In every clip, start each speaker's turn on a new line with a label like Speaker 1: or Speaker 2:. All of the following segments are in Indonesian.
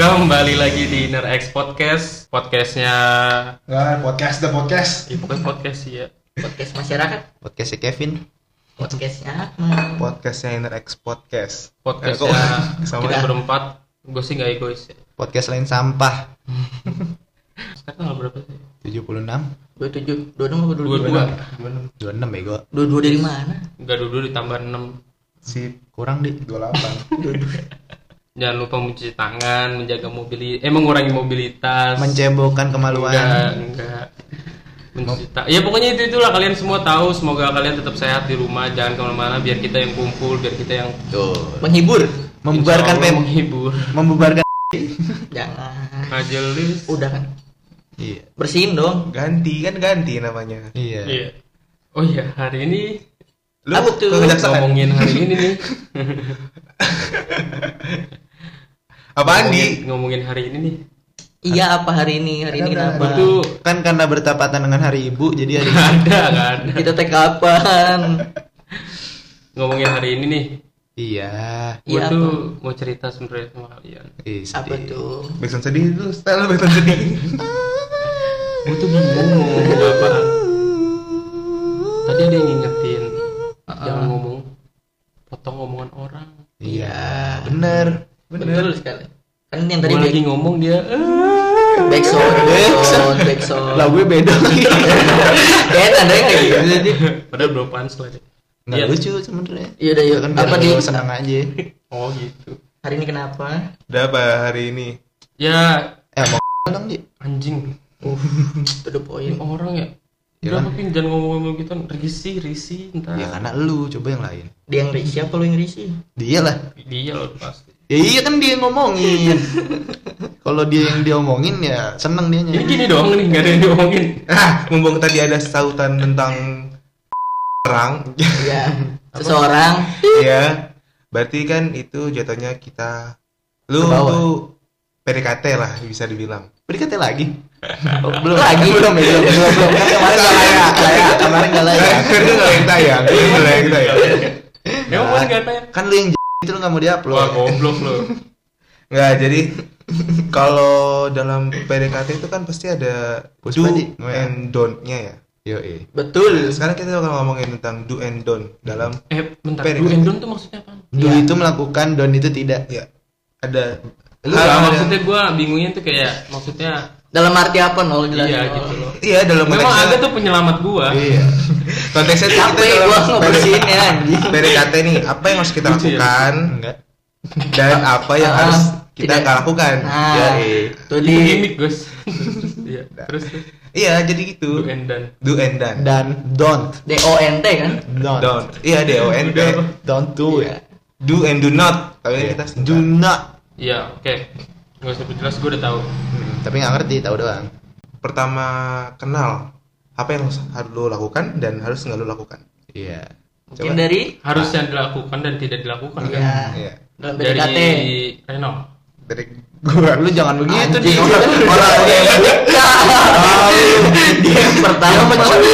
Speaker 1: Kembali lagi di Inner X Podcast Podcastnya
Speaker 2: Nah, podcast the podcast.
Speaker 1: Ya pokoknya podcast sih ya
Speaker 3: podcast masyarakat
Speaker 4: podcastnya Kevin
Speaker 3: podcastnya
Speaker 2: Podcastnya Inner X Podcast.
Speaker 1: Podcastnya
Speaker 2: Eh, kok-
Speaker 1: Sama ya.
Speaker 3: kita-
Speaker 1: berempat Gue sih gak egois ya
Speaker 4: podcast lain sampah
Speaker 1: Sekarang tanggal berapa sih?
Speaker 4: 76
Speaker 3: dua tujuh dua enam dua dua
Speaker 1: 22
Speaker 4: 26 bego
Speaker 3: dua dua dari mana
Speaker 1: Enggak dulu ditambah 6
Speaker 2: Si
Speaker 4: kurang di
Speaker 2: 28.
Speaker 3: dua dua
Speaker 1: Jangan lupa mencuci tangan Menjaga mobilitas Eh mengurangi mobilitas
Speaker 4: mencebokkan
Speaker 1: Enggak
Speaker 4: kemaluan
Speaker 1: Enggak Mencuci ta- Ya pokoknya itu itulah kalian semua tahu Semoga kalian tetap sehat di rumah Jangan kemana-mana Biar kita yang kumpul Biar kita yang
Speaker 4: tuh
Speaker 3: menghibur
Speaker 1: Insya
Speaker 4: membubarkan
Speaker 1: Allah
Speaker 4: pem
Speaker 1: Menghibur
Speaker 4: membubarkan
Speaker 3: jangan
Speaker 1: Majelis
Speaker 3: udah kan
Speaker 4: iya
Speaker 3: bersihin dong
Speaker 2: Ganti kan ganti namanya.
Speaker 4: iya
Speaker 1: Iya Oh iya hari ini
Speaker 2: Lu
Speaker 3: Apa tuh?
Speaker 2: ke kejaksaan.
Speaker 1: ngomongin hari ini nih ngomongin,
Speaker 2: Apaan di?
Speaker 1: ngomongin hari ini nih
Speaker 3: iya apa hari ini hari ini
Speaker 2: Ada, ada,
Speaker 3: kenapa
Speaker 1: itu
Speaker 4: kan karena bertepatan dengan hari ibu jadi hari
Speaker 1: nggak ada kan
Speaker 3: kita tag kapan
Speaker 1: ngomongin hari ini nih
Speaker 4: iya
Speaker 1: gue
Speaker 3: Iya,
Speaker 1: tuh mau cerita sebenarnya sama kalian
Speaker 4: Ih,
Speaker 3: apa
Speaker 4: sedih.
Speaker 3: tuh
Speaker 2: Backsound sedih lu, style backsound sedih.
Speaker 1: gue tuh bingung mau ngomong apa tadi ada yang ngingetin jangan ngomong potong omongan orang
Speaker 4: iya bener
Speaker 3: betul sekali kan yang tadi
Speaker 1: gue
Speaker 3: back
Speaker 1: lagi ngomong dia "Eh."
Speaker 3: backsound backsound
Speaker 4: lah
Speaker 3: backsound
Speaker 4: gue beda lagi
Speaker 3: kan ada yang kayak gitu
Speaker 4: Iya,
Speaker 1: Iya.
Speaker 4: jadi
Speaker 1: padahal belum punchline
Speaker 4: nggak
Speaker 1: Iya.
Speaker 4: lucu sebenernya
Speaker 3: iya udah yuk
Speaker 4: kan biar
Speaker 3: apa di
Speaker 4: lu seneng aja
Speaker 1: oh gitu
Speaker 3: hari ini kenapa
Speaker 2: Udah apa hari ini?
Speaker 1: ya
Speaker 4: eh mau dong di
Speaker 1: anjing
Speaker 3: to the
Speaker 1: ini
Speaker 3: point
Speaker 1: orang ya
Speaker 4: Ya
Speaker 1: Udah
Speaker 4: kan?
Speaker 1: makin jangan ngomong-ngomong gitu risih risih entar
Speaker 4: ya karena lu coba yang lain
Speaker 3: dia yang risih apa lu yang risih
Speaker 4: dia lah
Speaker 1: dia loh pasti
Speaker 4: Ya iya kan dia yang ngomongin. Kalau dia yang diomongin ya seneng dia
Speaker 1: Ini gini doang nih, gak ada yang diomongin
Speaker 2: Ah, mumpung tadi ada sautan tentang perang,
Speaker 3: ya seseorang
Speaker 2: ya. Berarti kan itu jatuhnya kita lu
Speaker 4: Ke bawah.
Speaker 2: tuh PDKT lah bisa dibilang.
Speaker 4: Berikatnya lagi. Oh, belum lagi belum ya belum belum belum kan kemarin nggak layak layak kemarin nggak layak
Speaker 2: Itu nggak yang tayang, itu nggak yang tayang.
Speaker 1: Emang boleh gak tanya?
Speaker 4: kan lu yang j- itu lu ya. nggak mau
Speaker 1: Wah
Speaker 4: diupload
Speaker 1: goblok lu
Speaker 2: Nggak, jadi kalau dalam PDKT itu kan pesti ada do
Speaker 4: Puspa, Di.
Speaker 2: and don't-nya ya.
Speaker 4: yo eh
Speaker 3: betul
Speaker 2: Sekarang kita bakal ngomongin tentang do and don't dalam
Speaker 1: Eh bentar,
Speaker 2: Pede.
Speaker 1: do and don't tuh maksudnya apa?
Speaker 4: do itu melakukan don itu tidak
Speaker 2: ya ada hal
Speaker 4: Lu
Speaker 1: Nah,
Speaker 2: yang-
Speaker 1: maksudnya gue bingungnya tuh kayak Maksudnya
Speaker 3: dalam arti apa nol jelasin
Speaker 1: iya
Speaker 3: nol.
Speaker 1: gitu loh
Speaker 2: iya dalam
Speaker 1: Memang
Speaker 2: konteksnya
Speaker 1: agak tuh penyelamat gue
Speaker 4: iya
Speaker 2: konteksnya tuh kita
Speaker 3: capek
Speaker 2: dalam
Speaker 3: gua ngebersihin ya anjing
Speaker 2: PDKT nih apa yang harus kita
Speaker 1: Lucu ya?
Speaker 2: lakukan
Speaker 4: enggak
Speaker 2: dan apa yang
Speaker 3: Ah,
Speaker 2: harus kita
Speaker 3: tidak.
Speaker 2: nggak lakukan
Speaker 3: Nah.
Speaker 2: Ya, iya.
Speaker 3: tuh
Speaker 1: Jadi
Speaker 3: di
Speaker 1: gimmick guys Iya, terus tuh,
Speaker 2: iya jadi
Speaker 1: do
Speaker 2: gitu
Speaker 1: and don't
Speaker 2: do and done
Speaker 4: dan don't
Speaker 3: D O N T kan
Speaker 4: don't
Speaker 2: don't iya D O N D
Speaker 1: Udah, apa?
Speaker 4: don't do ya
Speaker 2: do and do not tapi
Speaker 4: Iya.
Speaker 2: kita
Speaker 4: do
Speaker 2: singkat
Speaker 4: not
Speaker 1: Iya, oke Gak usah jelas, gue udah tahu
Speaker 4: Hmm, tapi nggak ngerti tahu doang
Speaker 2: pertama kenal apa yang harus harus lo lakukan dan harus nggak lo lakukan
Speaker 4: iya
Speaker 3: mungkin dari
Speaker 1: Harus yang dilakukan dan tidak dilakukan kan?
Speaker 3: ya
Speaker 2: Iya.
Speaker 3: dalam PDKT
Speaker 1: Dari Reno
Speaker 2: dari gua
Speaker 4: lu jangan begitu
Speaker 3: Anjing.
Speaker 4: di orang
Speaker 2: orang yang
Speaker 4: dia yang pertama mencuri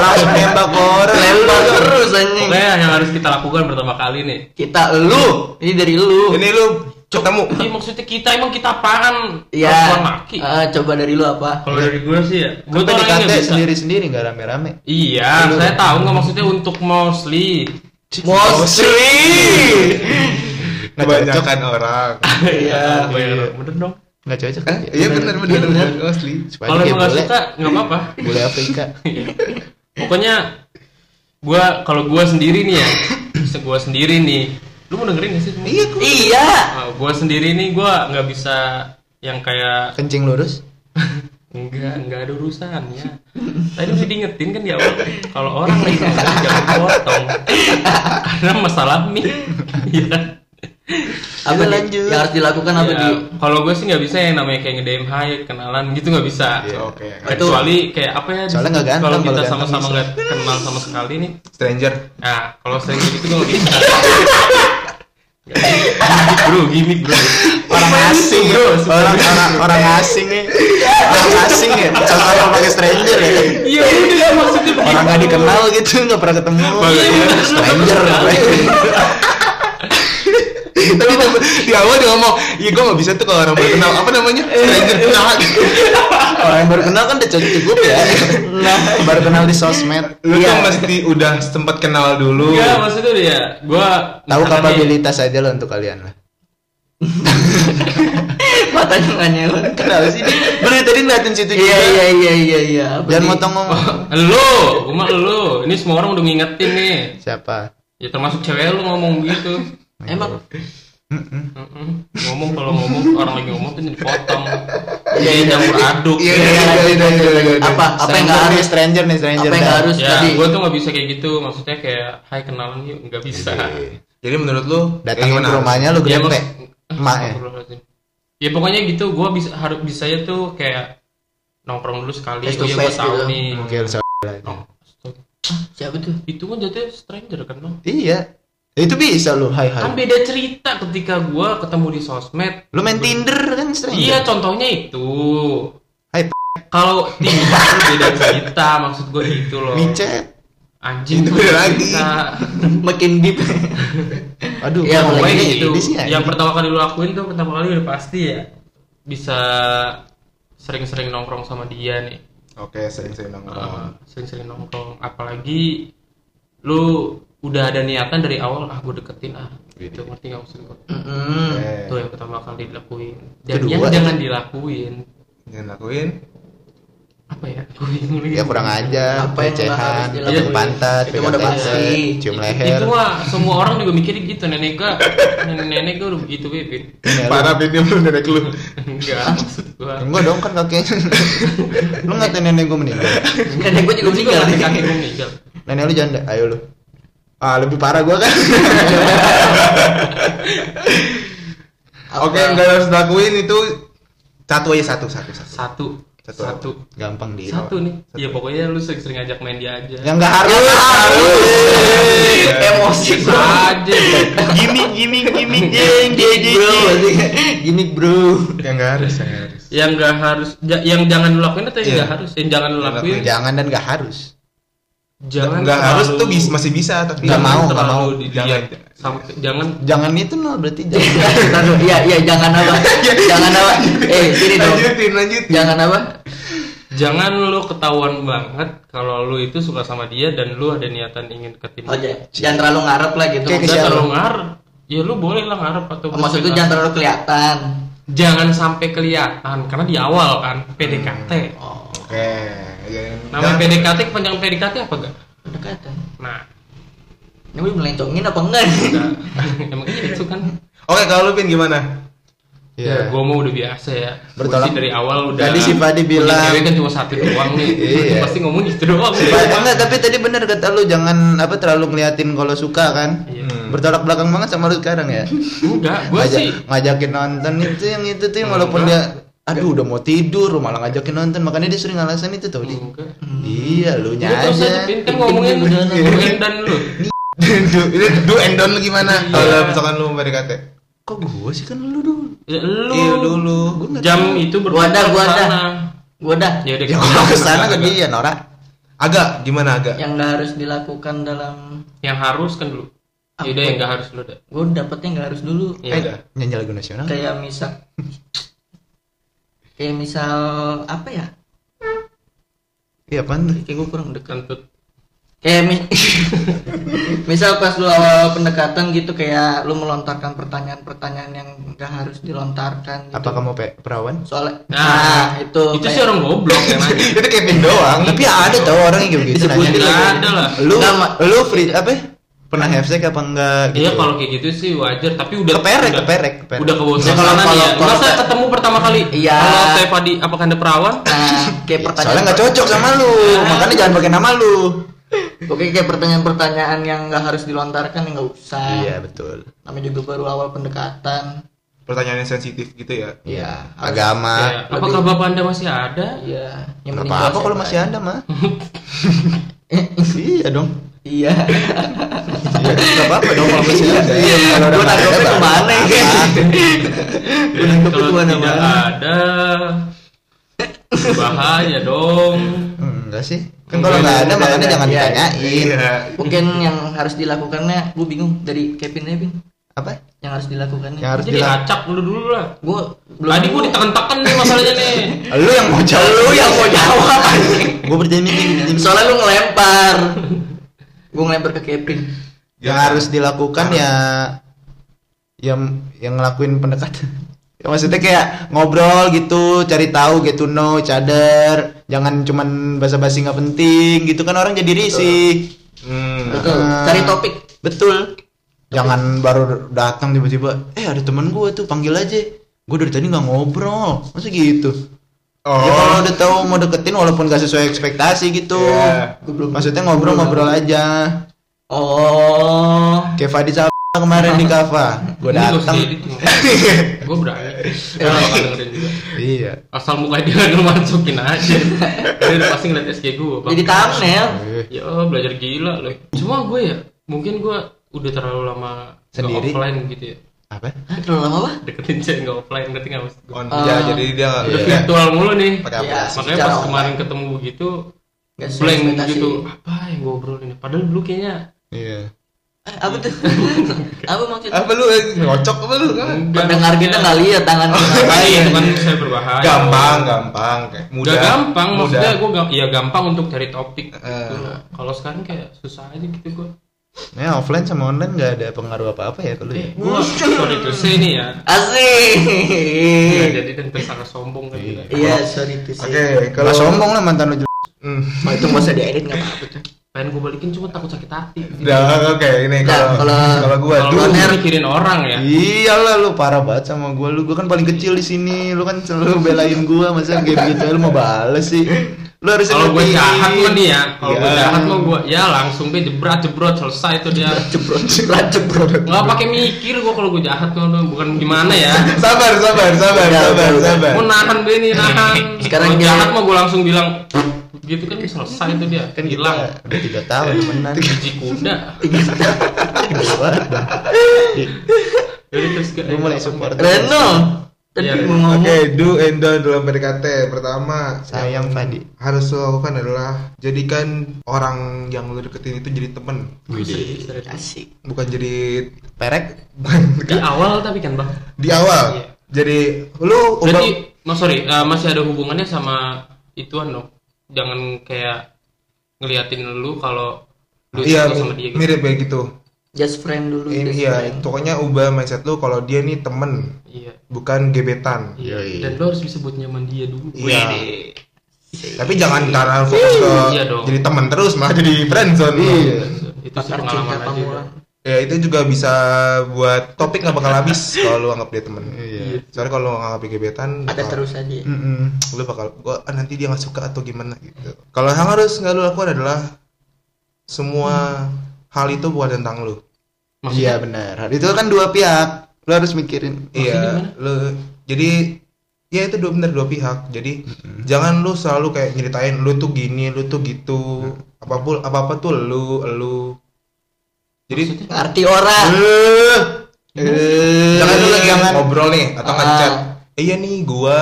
Speaker 4: langsung nembak orang
Speaker 3: lempar terus anjing
Speaker 1: Oke, yang harus kita lakukan pertama kali nih
Speaker 3: kita lu ini dari lu
Speaker 2: ini lu ketemu
Speaker 1: Iya maksudnya kita, emang kita apaan?
Speaker 3: ya
Speaker 1: Perempuan laki
Speaker 3: eh, coba dari lu apa
Speaker 1: Kalau dari gue sih ya Gue
Speaker 4: gue
Speaker 1: tuh orangnya
Speaker 4: PDKT
Speaker 1: nggak bisa
Speaker 4: sendiri-sendiri nggak rame-rame
Speaker 1: Iya, saya tahu nggak maksudnya untuk mostly.
Speaker 2: Oh,
Speaker 4: Oh,
Speaker 2: mostly
Speaker 4: Nggak
Speaker 2: kebanyakan orang
Speaker 3: Iya.
Speaker 1: Iya, bener dong.
Speaker 4: nggak cocok Ya,
Speaker 2: Eh, iya benar benar benar mostly
Speaker 4: Supaya
Speaker 1: Kalau
Speaker 4: dia
Speaker 1: emang nggak
Speaker 4: boleh
Speaker 1: suka nggak apa-apa.
Speaker 4: boleh Afrika
Speaker 1: Pokoknya gua kalau gua sendiri nih ya, se- gua sendiri nih. Lu mau dengerin nggak sih? semua?
Speaker 2: iya gua-
Speaker 3: iya
Speaker 1: Ah, gua sendiri nih gua nggak bisa yang kayak
Speaker 4: kencing lurus
Speaker 1: enggak enggak ada urusannya. Tadi udah diingetin kan di awal kalau orang lagi ngomong jangan potong karena masalah mie. Iya.
Speaker 3: apa
Speaker 4: Kita
Speaker 3: Di?
Speaker 4: lanjut.
Speaker 3: yang harus dilakukan apa
Speaker 1: Ya,
Speaker 3: di
Speaker 1: kalau gue sih nggak bisa yang namanya kayak nge-DM hai kenalan gitu nggak bisa.
Speaker 2: Iya, oke
Speaker 1: Kecuali kayak apa ya?
Speaker 4: Soalnya nggak ganteng,
Speaker 1: Kalau
Speaker 4: kalau
Speaker 1: kita
Speaker 4: ganteng
Speaker 1: sama-sama
Speaker 4: bisa.
Speaker 1: nggak kenal sama sekali nih.
Speaker 2: stranger
Speaker 1: Nah, kalau sering gitu gue nggak bisa. Nggak bisa. bro, gimmick bro.
Speaker 4: orang asing ya orang orang orang asing ya orang asing ya contoh orang pakai stranger ya
Speaker 1: Iya udah maksudnya begitu.
Speaker 4: orang nggak dikenal Iya, gitu nggak pernah ketemu
Speaker 1: Iya, bener.
Speaker 4: stranger
Speaker 1: Iya.
Speaker 2: tadi dia- di awal dia ngomong iya gue nggak bisa tuh kalau orang baru kenal apa namanya stranger kenal
Speaker 4: Orang yang baru kenal kan udah cukup ya. Nah, baru kenal di sosmed. Iya.
Speaker 2: lu tuh mesti udah sempat kenal dulu Iya,
Speaker 1: Enggak, maksudnya tuh ya, gua
Speaker 4: Tahu
Speaker 1: misalkan nih,
Speaker 4: kapabilitas aja lah untuk kalian lah.
Speaker 3: Matanya nggak nyelon.
Speaker 4: Kenal sih dia. Bener tadi ngeliatin situ juga.
Speaker 3: Iya iya iya iya iya. Apa
Speaker 4: Dan
Speaker 3: nih?
Speaker 4: motong ngomong.
Speaker 1: Lu, gua mah lu. Ini semua orang udah ngingetin nih.
Speaker 4: Siapa?
Speaker 1: Ya termasuk cewek lu ngomong gitu.
Speaker 3: Emang
Speaker 1: Heeh. Ngomong kalau ngomong orang lagi ngomong tuh dipotong. Jadi campur aduk.
Speaker 2: iya iya iya iya iya, iya iya.
Speaker 3: apa apa yang nggak
Speaker 4: Stranger nih,
Speaker 3: harus?
Speaker 4: stranger nih stranger.
Speaker 3: Apa yang nggak
Speaker 4: dah.
Speaker 3: harus
Speaker 1: Ya,
Speaker 3: tadi?
Speaker 1: gua tuh nggak bisa kayak gitu. Maksudnya kayak, hai kenalan yuk, nggak bisa.
Speaker 2: Iya. jadi menurut lu
Speaker 4: Datang
Speaker 2: kayak
Speaker 4: ke
Speaker 2: gimana?
Speaker 4: rumahnya lu
Speaker 1: Ya,
Speaker 4: grepe.
Speaker 1: maksud-
Speaker 4: Emak ya.
Speaker 1: Astagfirullahaladzim. Ya pokoknya gitu, gua bisa harus bisanya tuh kayak nongkrong dulu sekali.
Speaker 3: Face to
Speaker 1: Oh iya, gua
Speaker 3: face
Speaker 1: tahu
Speaker 3: gitu.
Speaker 1: nih.
Speaker 4: Mungkin harus
Speaker 1: Nong-
Speaker 3: Siapa tuh?
Speaker 1: Itu kan jatuhnya stranger kan bang.
Speaker 4: Iya. Itu bisa lu hai
Speaker 1: Kan
Speaker 4: hai.
Speaker 1: beda cerita ketika gua ketemu di sosmed.
Speaker 4: Lu main Tinder kan
Speaker 1: Iya,
Speaker 4: stranger.
Speaker 1: contohnya itu.
Speaker 4: Hai, p-
Speaker 1: Kalau tiba beda cerita, maksud gue gitu loh.
Speaker 4: micet.
Speaker 1: Anjing
Speaker 2: Itu
Speaker 1: tuh
Speaker 2: beda
Speaker 1: beda
Speaker 2: lagi.
Speaker 1: cerita.
Speaker 3: Makin deep.
Speaker 4: Aduh,
Speaker 3: Iya, mulai
Speaker 4: gua
Speaker 1: Pokoknya
Speaker 4: lagi
Speaker 1: gitu.
Speaker 4: di sini ya? aja.
Speaker 1: Yang pertama kali lu lakuin tuh pertama kali udah pasti ya bisa sering-sering nongkrong sama dia nih.
Speaker 2: oke
Speaker 1: Uh,
Speaker 2: sering-sering nongkrong
Speaker 1: Sering-sering nongkrong. Apalagi lu udah ada niatan dari awal ah gue deketin ah.
Speaker 4: Iya,
Speaker 1: Gitu ngerti nggak maksud gue?
Speaker 3: Mm-mm.
Speaker 2: Oke.
Speaker 1: Itu yang pertama kali dilakuin. Dan
Speaker 4: Kedua,
Speaker 1: yang
Speaker 4: Iya. ya.
Speaker 1: jangan dilakuin
Speaker 2: yang lakuin
Speaker 1: apa ya? Gua bingung lagi.
Speaker 4: Ya kurang aja,
Speaker 3: Apa yang nggak harus
Speaker 4: pelecehan,
Speaker 3: dilakuin?
Speaker 4: pegang pantat,
Speaker 3: Itu udah
Speaker 4: pegang
Speaker 3: pasti.
Speaker 4: leher, cium
Speaker 1: Itu
Speaker 4: leher.
Speaker 1: mah semua orang juga mikirnya gitu nenek gua nenek nenek gua udah begitu bebin.
Speaker 4: Iya,
Speaker 2: parah ini belum dari lu
Speaker 1: Enggak maksud gua.
Speaker 4: Enggak dong kan kakeknya. lu ngatain nenek gue meninggal.
Speaker 3: Nenek gue juga
Speaker 1: Lu
Speaker 3: meninggal.
Speaker 1: ngerti kakek gua meninggal.
Speaker 4: Nenek lu janda, ayo lu. Ah, lebih parah gua kan.
Speaker 3: Apa?
Speaker 2: oke enggak harus lakuin itu satu aja satu satu satu
Speaker 1: Satu.
Speaker 2: Satu.
Speaker 1: Satu.
Speaker 4: Gampang
Speaker 2: Iya,
Speaker 4: dia.
Speaker 1: Satu nih. Ya pokoknya lu sering-sering ngajak main dia aja.
Speaker 2: Ya.
Speaker 4: Yang enggak harus.
Speaker 3: Wih, Emosi
Speaker 1: Bisa
Speaker 3: bro.
Speaker 1: aja.
Speaker 4: Gimik, gimik, gimik,
Speaker 3: Gimik bro. Gimik bro.
Speaker 2: yang Ya, nggak harus yang nggak harus
Speaker 1: Yang enggak harus ja- yang jangan lu lakuin atau yang
Speaker 2: Iya.
Speaker 1: enggak harus? Yang jangan lu lakuin.
Speaker 4: Jangan dan enggak harus.
Speaker 1: Jangan
Speaker 2: nggak harus
Speaker 1: terlalu-
Speaker 2: tuh bis- masih bisa tapi
Speaker 4: Nggak
Speaker 1: jangan
Speaker 4: mau, nggak
Speaker 1: terlalu
Speaker 4: mau.
Speaker 1: dilihat.
Speaker 2: Jangan.
Speaker 1: Sampai- jangan
Speaker 4: Jangan itu nol berarti jangan.
Speaker 3: Taruh, Iya iya jangan apa. Jangan apa. Eh sini dong.
Speaker 2: lanjutin lanjutin
Speaker 3: Jangan apa.
Speaker 1: jangan lu ketahuan banget kalau lu itu suka sama dia dan lu ada niatan ingin ketemu.
Speaker 3: Oh, j- jangan terlalu ngarep lah gitu.
Speaker 4: Kayak
Speaker 1: Jangan
Speaker 4: siapa?
Speaker 1: terlalu ngarep. Ya lu boleh lah ngarep atau
Speaker 2: Oh,
Speaker 3: Maksud
Speaker 1: boleh
Speaker 3: gue
Speaker 1: lah.
Speaker 3: jangan terlalu kelihatan.
Speaker 1: jangan sampai kelihatan karena di awal kan PDKT.
Speaker 3: Oh.
Speaker 2: oke yang-
Speaker 1: Namanya
Speaker 2: jangan-
Speaker 1: PDKT kepanjangan PDKT apa enggak?
Speaker 3: Pendekatan.
Speaker 1: Nah,
Speaker 3: Ini gue melencongin apa enggak? nih?
Speaker 1: enggak. emang iya itu kan.
Speaker 2: oke kalau lu pin gimana
Speaker 1: Ya,
Speaker 4: Iya.
Speaker 1: gua mau udah biasa ya.
Speaker 4: Bertolak-
Speaker 1: Berarti dari awal udah.
Speaker 4: Tadi si Fadi
Speaker 1: punya
Speaker 4: bilang-
Speaker 1: cewek kan cuma satu doang nih.
Speaker 4: Iya.
Speaker 1: Pasti ngomong gitu doang.
Speaker 4: Padahal enggak, tapi tadi bener kata lu jangan apa terlalu ngeliatin kalau suka kan.
Speaker 1: Iya.
Speaker 2: Hmm.
Speaker 4: Bertolak belakang banget sama lu sekarang ya.
Speaker 1: Enggak, gua
Speaker 4: Ngajak-
Speaker 1: sih
Speaker 4: ngajakin nonton itu yang itu tuh yang
Speaker 1: Enggak.
Speaker 4: walaupun dia aduh udah mau tidur malah ngajakin nonton makanya dia sering alasan itu tau di
Speaker 1: enggak.
Speaker 4: iya lu
Speaker 1: Udah terus aja
Speaker 4: aja
Speaker 1: Pin kan ngomongin ngomongin dan lu.
Speaker 2: do, ini do and don't lu gimana
Speaker 1: Iya.
Speaker 2: kalau misalkan lu mau PDKT
Speaker 4: kok gua sih kan lu dulu
Speaker 1: Ya,
Speaker 2: iya
Speaker 1: lu
Speaker 2: dulu
Speaker 1: jam itu
Speaker 3: Gua
Speaker 1: berputar
Speaker 3: ada, gua ada.
Speaker 1: sana.
Speaker 3: Gue dah.
Speaker 1: Ya udah
Speaker 4: ya kalau kesana ke dia Nora
Speaker 2: agak gimana agak
Speaker 3: Yang nggak harus dilakukan dalam.
Speaker 1: Yang harus kan dulu. Ya udah
Speaker 3: Apa?
Speaker 1: yang enggak harus lu dah.
Speaker 3: Gue dapetnya nggak harus dulu.
Speaker 1: Ya
Speaker 4: Eh.
Speaker 1: udah.
Speaker 4: nyanyi lagu nasional
Speaker 3: kayak misal kayak misal apa ya
Speaker 4: iya apaan tuh
Speaker 3: kayak gue kurang dekat
Speaker 1: Kentut.
Speaker 3: kayak mi- misal pas lu awal pendekatan gitu kayak lu melontarkan pertanyaan-pertanyaan yang gak harus dilontarkan gitu.
Speaker 4: apa kamu pe perawan
Speaker 3: soalnya
Speaker 1: Nah,
Speaker 3: nah, itu
Speaker 1: Itu sih orang goblok yang nanya.
Speaker 2: itu Kevin doang
Speaker 4: tapi ada tau orang yang gitu
Speaker 3: Disebutin
Speaker 1: Enggak
Speaker 4: nanya
Speaker 3: lagi.
Speaker 1: ada lah.
Speaker 4: lu
Speaker 3: Enggak, Ma.
Speaker 4: lu free apa ya? pernah have sex apa enggak gitu
Speaker 1: Iya kalau kayak gitu sih wajar, tapi udah
Speaker 4: Keperek,
Speaker 1: udah,
Speaker 4: keperek, keperek.
Speaker 1: Udah
Speaker 3: Ya,
Speaker 1: kebosan
Speaker 3: kalau-
Speaker 1: sana
Speaker 3: kalau-
Speaker 1: ya.
Speaker 3: kalau-
Speaker 1: Masa ketemu pertama kali?
Speaker 3: Iya.
Speaker 1: Kalau saya Fadi, apakah Anda perawan?
Speaker 3: nah kayak
Speaker 4: Iya,
Speaker 3: pertanyaan
Speaker 4: soalnya nggak cocok sama lu makanya jangan pakai nama lu
Speaker 3: oke kayak pertanyaan-pertanyaan yang gak harus dilontarkan yang gak usah
Speaker 4: iya betul
Speaker 3: namanya juga baru awal pendekatan
Speaker 2: pertanyaannya sensitif gitu ya
Speaker 4: iya
Speaker 3: Harus-
Speaker 1: Ya,
Speaker 4: agama
Speaker 1: apakah Bapak Anda masih ada?
Speaker 3: iya yang
Speaker 4: Nggak
Speaker 3: meninggal
Speaker 4: apa-apa kalau
Speaker 3: siapa
Speaker 4: masih
Speaker 3: ya?
Speaker 4: ada mah iya dong
Speaker 3: iya
Speaker 4: Iya, nggak apa-apa dong kalau masih ada. Iya, kalau
Speaker 3: gue
Speaker 4: udah
Speaker 3: tanggapnya
Speaker 4: nggak ada,
Speaker 3: kemana ya
Speaker 4: gitu.
Speaker 1: Kalau
Speaker 3: Menangkap itu
Speaker 1: tidak
Speaker 3: mana-mana.
Speaker 1: ada bahaya dong.
Speaker 4: Hmm, Enggak sih. Kan kalau nggak ada makanya jangan
Speaker 3: Iya,
Speaker 4: ditanyain.
Speaker 2: iya
Speaker 3: mungkin yang harus dilakukannya gue bingung dari Kevin aja Bin.
Speaker 4: apa
Speaker 3: yang harus dilakukan
Speaker 4: yang harus
Speaker 1: Jadi
Speaker 4: dilakukan
Speaker 1: acak dulu dulu lah.
Speaker 3: gue belum
Speaker 1: Tadi gue ditekan-tekan nih masalahnya nih.
Speaker 4: lu yang mau jawab
Speaker 3: lu yang mau jawab anjing.
Speaker 4: gue berjanji gini berjanji.
Speaker 3: soalnya lu ngelempar gue ngelempar ke Kevin
Speaker 4: yang harus dilakukan ya yang yang ngelakuin pendekatan Ya, maksudnya kayak ngobrol gitu cari tahu get to know each other jangan cuman basa-basi nggak penting gitu kan orang jadi risih
Speaker 2: Hmm.
Speaker 3: betul
Speaker 4: Ah.
Speaker 3: cari topik
Speaker 4: betul jangan baru datang tiba-tiba eh ada teman gue tuh panggil aja gue dari tadi nggak ngobrol masa gitu
Speaker 2: Oh.
Speaker 4: ya kalau udah tahu mau deketin walaupun gak sesuai ekspektasi gitu
Speaker 2: Iya.
Speaker 3: Gua belum-
Speaker 4: maksudnya ngobrol-ngobrol aja
Speaker 3: oh Iya,
Speaker 4: kayak Fadi sama kemarin di Kava gue datang
Speaker 1: Gue berani. Gue bakal dengerin juga.
Speaker 4: iya
Speaker 1: Asal mukanya dia nggak masukin aja. Dia udah pasti ngeliat SG gue.
Speaker 3: jadi thumbnail
Speaker 1: Ya belajar gila loh. Cuma gue ya mungkin gue udah terlalu lama nggak
Speaker 4: Sendiri?
Speaker 1: offline gitu ya.
Speaker 4: apa
Speaker 3: Hah, terlalu lama apa
Speaker 1: Deketin cewek nggak offline ngerti nggak maksud gue?
Speaker 2: on
Speaker 3: Ah.
Speaker 2: ya jadi dia
Speaker 1: Udah
Speaker 2: iya.
Speaker 1: virtual mulu nih.
Speaker 2: pakai
Speaker 3: Iya.
Speaker 2: aplikasi
Speaker 1: Makanya
Speaker 3: secara
Speaker 1: pas
Speaker 3: online.
Speaker 1: kemarin ketemu gitu
Speaker 3: Nggak sesuai
Speaker 1: blank
Speaker 3: ekspektasi.
Speaker 1: gitu. Apa yang gue obrolin? ya? Padahal dulu kayaknya
Speaker 2: iya
Speaker 3: Eh, apa tuh apa maksudnya
Speaker 2: apa lu eh, ngocok apa lu
Speaker 1: Hmm.
Speaker 3: pendengar kita nggak lihat tangan kita
Speaker 1: Makanya itu kan saya berbahaya.
Speaker 2: gampang gampang kayak mudah
Speaker 1: Udah gampang maksudnya
Speaker 2: mudah.
Speaker 1: gue ya gampang untuk cari topik. gitu.
Speaker 2: Eh.
Speaker 1: Kalau sekarang kayak susah aja gitu gue.
Speaker 4: ya offline sama online nggak ada pengaruh apa apa ya kalau
Speaker 3: Eh, Iya.
Speaker 4: ya
Speaker 1: Gue sorry to say nih ya. Nggak
Speaker 3: asik
Speaker 1: jadi dan tersangka sombong kan. kita.
Speaker 3: Eh. iya sorry tuh sih
Speaker 2: oke kalau
Speaker 4: kalau sombong lah mantan lu jelek.
Speaker 2: Hmm.
Speaker 3: Oh, itu nggak usah diedit nggak apa-apa tuh
Speaker 1: Pengen gue balikin cuma takut sakit hati.
Speaker 2: udah oke ini
Speaker 3: Nah,
Speaker 2: kalau
Speaker 3: kalau-
Speaker 2: kalau gua
Speaker 1: Kalau
Speaker 2: dulu
Speaker 1: lu
Speaker 3: Ner.
Speaker 1: mikirin orang ya.
Speaker 4: Iya, Iyalah lu parah banget sama gua lu. Gua kan paling kecil di sini. Lu kan selalu belain gua masa game gitu lu mau bales sih. Lu harus
Speaker 1: Kalau gue jahat mah nih ya, kalau gue
Speaker 4: Iya.
Speaker 1: jahat mah gue ya langsung deh jebrat jebrot selesai tuh dia.
Speaker 3: cebrot cebrot cebrot
Speaker 1: Nggak pakai mikir gue kalau gue jahat tuh bukan gimana ya.
Speaker 2: sabar sabar sabar
Speaker 3: Udah,
Speaker 2: sabar
Speaker 3: udah,
Speaker 2: sabar
Speaker 1: Mau nahan deh nih nahan.
Speaker 3: Sekarang
Speaker 1: Kalau
Speaker 3: dia-
Speaker 1: jahat mah gue langsung bilang gitu kan selesai tuh dia.
Speaker 4: kan kita
Speaker 1: hilang
Speaker 4: udah 3 tahun temenan.
Speaker 1: biji kuda.
Speaker 4: Iya. Gila banget dah.
Speaker 1: Jadi terus gak-
Speaker 4: Gua mulai support.
Speaker 3: Reno tadi
Speaker 1: Iya,
Speaker 3: mau
Speaker 1: Ren.
Speaker 3: ngomong
Speaker 2: Oke, do and don't dalam PDKT. Pertama, yang
Speaker 4: Sayang, Fadi.
Speaker 2: Harus lo lakukan adalah jadikan orang yang lo deketin itu jadi temen,
Speaker 1: gitu.
Speaker 3: asik
Speaker 2: bukan jadi
Speaker 4: Perek.
Speaker 2: bukan
Speaker 1: Di awal tapi kan bang.
Speaker 2: di
Speaker 1: Iya.
Speaker 2: awal. Jadi lu
Speaker 1: Berarti mas sorry eh, masih ada hubungannya sama ituan dong. Jangan kayak ngeliatin lu kalau lu
Speaker 2: iya
Speaker 1: suka sama dia gitu.
Speaker 2: mirip kayak gitu.
Speaker 3: just friend dulu
Speaker 2: Eh,
Speaker 3: just
Speaker 2: iya,
Speaker 3: friend.
Speaker 2: pokoknya ubah mindset lu kalau dia nih temen,
Speaker 1: Iya.
Speaker 2: bukan gebetan.
Speaker 1: Iya.
Speaker 4: Yoi.
Speaker 1: Dan lu harus bisa buat nyaman dia dulu.
Speaker 2: Iya.
Speaker 1: Wih,
Speaker 2: Tapi jangan karena fokus ke
Speaker 1: Iya dong. Iya.
Speaker 2: jadi temen terus malah jadi friendzone. lu.
Speaker 1: Itu sih
Speaker 3: pakar cinta
Speaker 1: pengalaman aja.
Speaker 3: pamula
Speaker 2: Ya itu juga bisa buat topik nggak bakal habis kalau lu anggap dia temen.
Speaker 4: Iya.
Speaker 2: Soalnya kalau lu anggap dia gebetan
Speaker 3: ada
Speaker 2: bakal-
Speaker 3: terus aja ya.
Speaker 1: Hmm.
Speaker 2: Mm-mm. lu bakal gua ah, nanti dia nggak suka atau gimana gitu. Kalau yang harus nggak lu lakukan adalah semua hal itu bukan tentang lu.
Speaker 4: Iya benar. Itu kan dua pihak. Lu harus mikirin.
Speaker 2: Iya, lu jadi ya itu dua bener dua pihak. Jadi jangan lu selalu kayak nyeritain lu tuh gini, lu tuh gitu. Apapun apa apa tuh lu lu. Jadi
Speaker 3: ngerti orang
Speaker 4: Eh. Eh.
Speaker 2: jangan lu lagi ngobrol nih atau
Speaker 3: Ah.
Speaker 2: ngechat. "Eh, Iya nih gua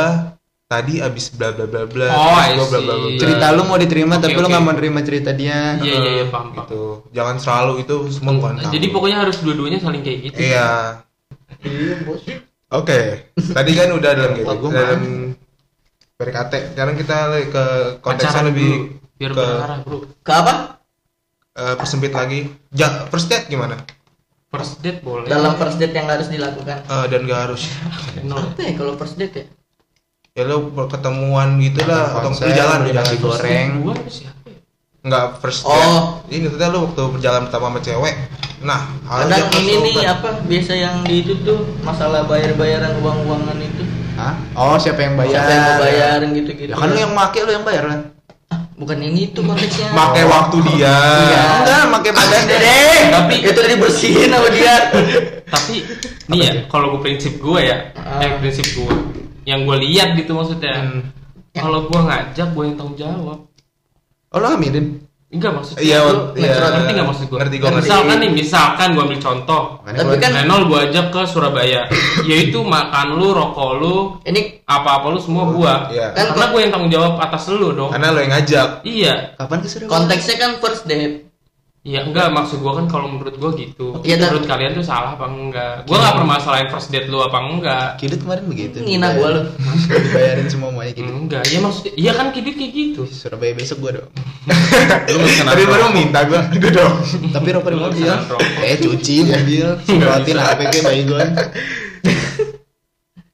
Speaker 2: tadi abis bla bla bla bla.
Speaker 1: Oh,
Speaker 2: terus
Speaker 1: I
Speaker 2: gua bla bla bla
Speaker 1: see.
Speaker 2: bla."
Speaker 4: cerita lu mau diterima
Speaker 1: Oke,
Speaker 4: tapi lu
Speaker 1: oke.
Speaker 4: nggak mau nerima cerita dia.
Speaker 1: Iya iya iya paham paham.
Speaker 2: gitu. Jangan selalu itu semua bukan tentang
Speaker 1: Jadi
Speaker 2: lu.
Speaker 1: pokoknya harus dua-duanya saling kayak gitu.
Speaker 2: Iya.
Speaker 1: Hmm.
Speaker 2: Oke, tadi kan udah dalam gitu,
Speaker 4: Wah, gua
Speaker 2: dalam PDKT. Sekarang kita le- ke konteksnya
Speaker 1: Pacaran
Speaker 2: lebih
Speaker 1: dulu, biar
Speaker 2: ke
Speaker 1: berarah bro.
Speaker 3: ke apa
Speaker 2: eh, persempit lagi. Ja, first date gimana?
Speaker 1: First date boleh.
Speaker 3: dalam first date yang harus dilakukan
Speaker 2: Eh, dan gak harus
Speaker 1: No.
Speaker 3: apa ya kalau first date ya
Speaker 2: ya lo pertemuan gitu lah atau lu
Speaker 4: Konsep,
Speaker 2: jalan lu
Speaker 4: nasi
Speaker 2: jalan
Speaker 4: goreng.
Speaker 1: Gua apa siapa? ya?
Speaker 2: nggak first date
Speaker 3: gitu. Oh.
Speaker 2: ini maksudnya lu waktu berjalan pertama sama cewek nah harus
Speaker 3: kadang
Speaker 2: dia first
Speaker 3: ini nih
Speaker 2: open.
Speaker 3: apa biasa yang di itu tuh masalah bayar bayaran uang uangan itu
Speaker 4: Hah? Oh, siapa yang bayar?
Speaker 3: siapa yang mau bayarin gitu gitu
Speaker 4: Ya kan lu yang make lu yang bayar kan?
Speaker 3: bukan yang itu konteksnya
Speaker 2: pakai waktu dia
Speaker 3: Iya.
Speaker 4: Enggak, pakai badan deh.
Speaker 3: tapi
Speaker 1: Tapi-
Speaker 3: itu tadi bersihin sama dia
Speaker 1: tapi nih ya kalau gue prinsip gue ya
Speaker 3: Ah.
Speaker 1: eh prinsip gue yang gue lihat gitu maksudnya
Speaker 2: Hmm.
Speaker 1: kalau gue ngajak gue yang tanggung jawab
Speaker 4: Oh, lu hamilin.
Speaker 1: enggak maksudnya
Speaker 2: Iya,
Speaker 1: lu
Speaker 2: iya.
Speaker 1: ngerti nggak maksud gue
Speaker 2: Ngerti gua, ngerti.
Speaker 1: misalkan nih misalkan gue ambil contoh
Speaker 4: Makanya
Speaker 3: Tapi
Speaker 4: gua-
Speaker 3: kan-
Speaker 1: Renol gue ajak ke Surabaya yaitu makan lu rokok lu
Speaker 3: ini
Speaker 1: apa apa lu semua gue
Speaker 2: Iya. Kan-
Speaker 3: Kan
Speaker 1: karena gue yang tanggung jawab atas lu dong
Speaker 2: karena lo yang ngajak
Speaker 1: iya
Speaker 4: kapan ke Surabaya?
Speaker 3: konteksnya kan first date
Speaker 1: Ya enggak, maksud gua kan kalau menurut gua gitu.
Speaker 3: Iya,
Speaker 1: menurut kalian tuh salah apa enggak? Gua nggak permasalahin first date lu apa enggak.
Speaker 4: Kidut kemarin begitu.
Speaker 3: Ngina
Speaker 4: dibayarin.
Speaker 3: gua lu.
Speaker 4: Dibayarin semua maunya Kidut.
Speaker 1: Enggak, ya maksud iya kan kidit kayak gitu.
Speaker 4: Surabaya besok gua dong.
Speaker 1: Lu pesan
Speaker 2: Tapi
Speaker 1: apa?
Speaker 2: baru minta gua, gua Gitu dong.
Speaker 4: Tapi rokok di
Speaker 1: Lu
Speaker 4: mobil.
Speaker 1: pesanan rokok.
Speaker 4: Eh cuci mobil, semprotin APK bayi gua.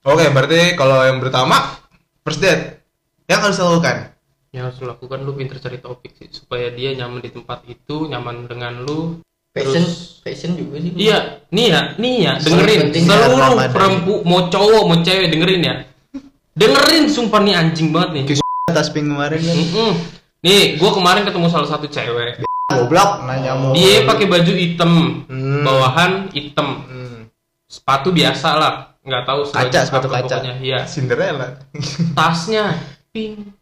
Speaker 2: Oke, berarti kalau yang pertama first date yang harus dilakukan.
Speaker 1: Yang harus lu lakukan lu pinter cari topik sih supaya dia nyaman di tempat itu, nyaman dengan lu.
Speaker 3: Fashion,
Speaker 1: Terus-
Speaker 3: fashion juga sih.
Speaker 1: Iya, nih ya, nih ya,
Speaker 4: Paling
Speaker 1: dengerin
Speaker 4: penting saat
Speaker 1: seluruh
Speaker 4: Ramadan.
Speaker 1: perempu mau cowok mau cewek dengerin ya. Dengerin sumpah nih anjing banget nih.
Speaker 4: Atas ping kemarin kan.
Speaker 1: Mm-mm. Nih, gua kemarin ketemu salah satu cewek.
Speaker 4: Goblok nanya mau.
Speaker 1: Dia pakai baju hitam,
Speaker 2: Hmm.
Speaker 1: bawahan hitam.
Speaker 2: Hmm.
Speaker 1: sepatu biasa lah nggak tahu sebagai
Speaker 4: Kaca, sepatu
Speaker 1: apa
Speaker 4: kaca.
Speaker 1: pokoknya. iya
Speaker 2: Cinderella.
Speaker 1: tasnya pink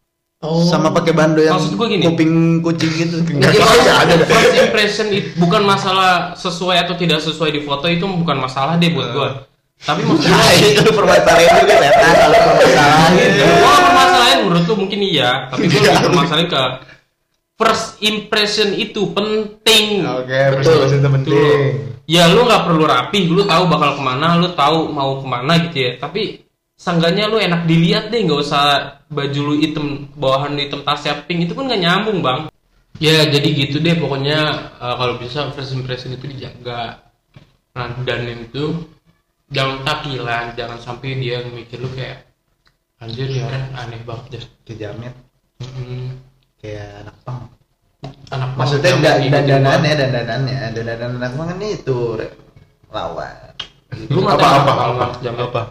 Speaker 3: Oh.
Speaker 4: sama pakai bando yang
Speaker 1: Maksud gua gini.
Speaker 4: kuping kucing gitu.
Speaker 2: Nggak tahu ya, ada dah.
Speaker 1: first impression it- bukan masalah sesuai atau tidak sesuai di foto itu bukan masalah deh buat gua tapi maksudnya
Speaker 4: Nah, itu permasalahan juga setan kalau permasalahan.
Speaker 1: gua permasalahan menurut lu mungkin iya tapi gua lebih permasalahan ke first impression itu penting
Speaker 2: Oke, first
Speaker 3: Betul.
Speaker 2: impression itu penting.
Speaker 1: ya lu nggak perlu rapi lu tahu bakal kemana lu tahu mau kemana gitu ya tapi seenggaknya lu enak dilihat deh nggak usah baju lu hitam bawahan lu hitam tasnya pink itu kan nggak nyambung bang ya jadi gitu deh pokoknya eh, kalau bisa first impression itu dijaga nah dan itu jangan takilan jangan sampai dia mikir lu kayak anjir ya orang aneh banget deh
Speaker 4: Kejamet
Speaker 1: Mm,
Speaker 4: kayak anak pang.
Speaker 1: anak
Speaker 4: Maksudnya
Speaker 1: banget, jangan
Speaker 4: dan dan
Speaker 1: ngikutin gua.
Speaker 4: danannya dan danannya dan danan anak pang kan itu Re. lawan.
Speaker 1: lu mata
Speaker 2: Apa apa
Speaker 1: kalau
Speaker 2: apa?
Speaker 1: nggak jam
Speaker 2: Apa?